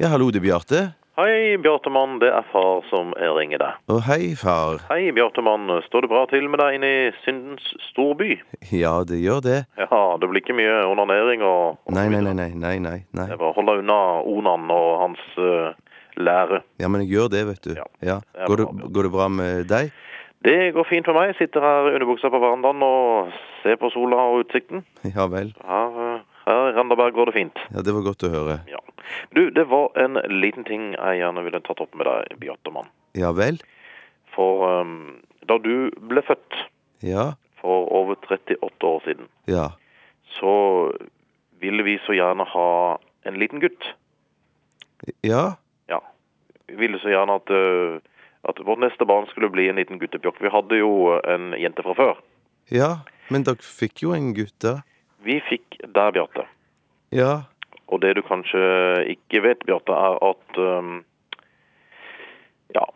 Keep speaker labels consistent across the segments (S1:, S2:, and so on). S1: Ja, hallo, det er Bjarte.
S2: Hei, Bjartemann, det er far som ringer deg.
S1: Å, hei, far.
S2: Hei, Bjartemann, står det bra til med deg inne i syndens storby?
S1: Ja, det gjør det.
S2: Ja, det blir ikke mye onanering og... og
S1: Nei, nei,
S2: så videre.
S1: nei, nei, nei, nei. nei.
S2: Jeg bare holder unna Onan og hans eh, lære.
S1: Ja, men jeg gjør det, vet du.
S2: Ja.
S1: Ja.
S2: Det er
S1: Går,
S2: bra.
S1: det, går det bra med deg?
S2: Det går fint for meg. Jeg sitter her i underbuksa på verandaen og ser på sola og utsikten.
S1: Ja vel.
S2: Her, eh, her i Randaberg går det fint.
S1: Ja, det var godt å høre.
S2: Ja. Du, det var en liten ting jeg gjerne ville tatt opp med deg, Bjartemann.
S1: Ja vel?
S2: For eh, da du ble født
S1: Ja.
S2: for over 38 år siden,
S1: Ja.
S2: så ville vi så gjerne ha en liten gutt.
S1: Ja.
S2: Ja. Vi ville så gjerne at, eh, at vårt neste barn skulle bli en liten guttepjokk. Vi hadde jo en jente fra før.
S1: Ja. Men dere fikk jo en gutt, da.
S2: Vi fikk der, Bjarte.
S1: Ja.
S2: Og det du kanskje ikke vet, Bjarte, er at eh, Ja.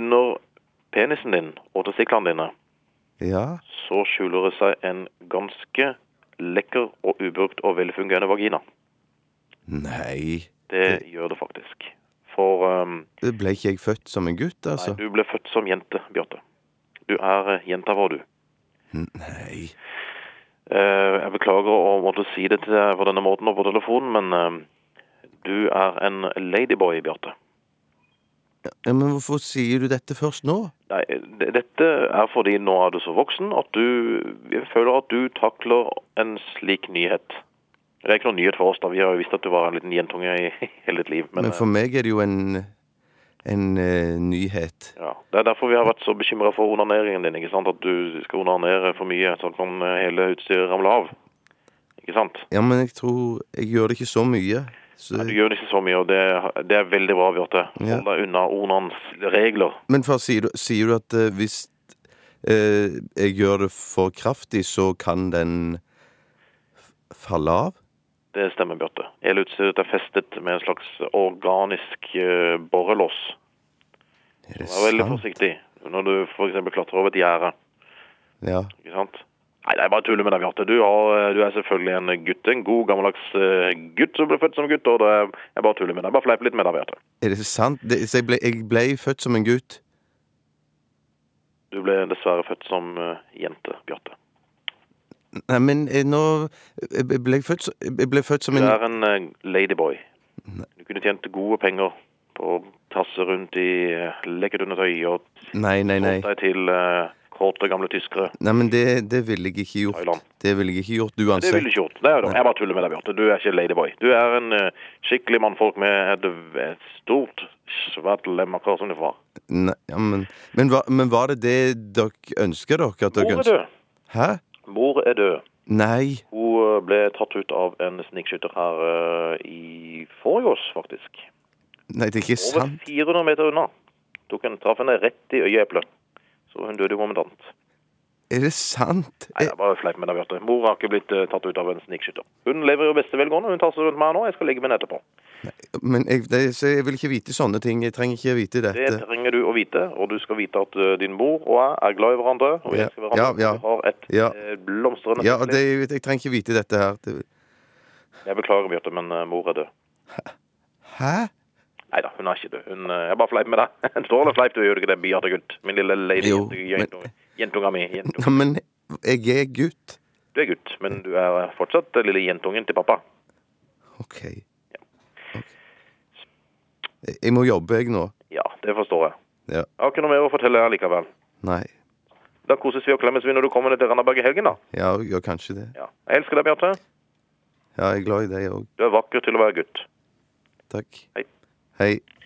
S2: Under penisen din og testiklene dine
S1: Ja.
S2: så skjuler det seg en ganske lekker og ubrukt og velfungerende vagina.
S1: Nei.
S2: Det gjør det faktisk. For eh,
S1: Det ble ikke jeg født som en gutt, altså?
S2: Nei, du ble født som jente, Bjarte. Du er eh, jenta vår, du.
S1: Nei.
S2: Eh, jeg beklager å måtte si det til deg på denne måten og på telefonen, men eh, du er en ladyboy, Bjarte.
S1: Ja, men hvorfor sier du dette først nå?
S2: Nei, d- dette er fordi nå er du så voksen at du jeg føler at du takler en slik nyhet. Det er ikke noen nyhet for oss, da. Vi har jo visst at du var en liten jentunge i hele ditt liv. Men, eh,
S1: Men for meg er det jo en en eh, nyhet.
S2: eh, ja. Det er derfor vi har vært så bekymra for onaneringen din. ikke sant? At du skal onanere for mye, sånn at man, eh, hele utstyret ramler av. Ikke sant?
S1: Ja, men jeg tror Jeg gjør det ikke så mye. Så,
S2: Nei, Du gjør det ikke så mye, og det, det er veldig bra, Bjarte. Hold
S1: Ja.
S2: deg unna onans regler.
S1: men far, sier du, sier du at eh, hvis eh, jeg gjør det for kraftig, så kan den f- falle av?
S2: Det stemmer, Bjarte. Hele utstyret er festet med en slags organisk eh, borrelås.
S1: Er det
S2: Vær veldig
S1: sant?
S2: forsiktig når du f.eks. klatrer over et gjerde.
S1: Ja.
S2: Ikke sant? Nei, det er bare tull med deg, Bjarte. Du, har- eh, du er selvfølgelig en gutt. En god, gammeldags eh, gutt som ble født som gutt. Og det er jeg bare tuller med deg. Bare fleip litt med deg, Bjarte.
S1: Er det sant? Det, så jeg ble, jeg ble født som en gutt?
S2: Du ble dessverre født som eh, jente, Bjarte.
S1: Nei, men eh, nå eh, ble jeg født, så- jeg ble født som
S2: Du
S1: en
S2: er en eh, ladyboy. Du kunne tjent gode penger på å tasse rundt i eh, lekket undertøy og
S1: Nei, nei, nei.
S2: holdt deg til eh, kåte gamle tyskere.
S1: Nei, men det, det ville jeg ikke gjort.
S2: Thailand.
S1: Det ville jeg ikke gjort
S2: Det ville
S1: uansett.
S2: du ikke gjort. Det er det. Jeg bare tuller med deg, Bjarte. Du er ikke ladyboy. Du er en eh, skikkelig mannfolk med et, et stort, svært lem, akkurat som din far.
S1: Nei, ja, men, men, hva- men var det det dere ønsker dere? At dere
S2: Mor er
S1: ønsker?
S2: død.
S1: Hæ?
S2: Mor er død.
S1: Nei.
S2: Hun eh, ble tatt ut av en snikskytter her eh, i forgårs, faktisk.
S1: Nei, det er ikke
S2: Over
S1: sant.
S2: 400 meter unna. Tok en, traff henne rett i øyeeplet. Så hun døde jo momentant.
S1: Er det sant?
S2: Nei, det er bare fleip med deg, Bjarte. Mor har ikke blitt eh, tatt ut av en snikskytter. Hun lever i beste velgående. Hun tar seg rundt meg nå. Jeg skal ligge med henne etterpå.
S1: Eh, Men jeg, det, så jeg vil ikke vite sånne ting. Jeg trenger ikke vite
S2: Det
S1: dette.
S2: trenger du å vite, og du skal vite at eh, din mor og jeg er glad i hverandre. Og vi
S1: Ja,
S2: elsker hverandre.
S1: ja, ja.
S2: Vi har et
S1: Ja.
S2: eh, blomstrende
S1: Ja,
S2: ekteskap.
S1: det, jeg, jeg trenger ikke vite dette her. Det,
S2: Jeg beklager, Bjarte, men eh, mor er død.
S1: hæ?
S2: Nei da, hun er ikke død. Hun, eh, jeg bare fleip med deg. En strålende fleip, du gjør du ikke det, Bjarte-gutt. Min lille lady.
S1: Jo,
S2: jentunge- Jentunga mi. Jentunga.
S1: Nei, men jeg er gutt.
S2: Du er gutt, men du er eh, fortsatt den lille jentungen til pappa.
S1: OK. Ok. Jeg- Jeg må jobbe, jeg, nå.
S2: Ja, det forstår jeg.
S1: Ja.
S2: Jeg har ikke noe mer å fortelle her likevel.
S1: Nei.
S2: Da koses vi og klemmes vi når du kommer ned til Randaberg i helgen, da.
S1: Ja, jeg gjør kanskje det.
S2: Ja. Jeg elsker deg, Bjarte.
S1: Ja, jeg er glad i deg òg.
S2: Du er vakker til å være gutt.
S1: Takk.
S2: Hei.
S1: Hei.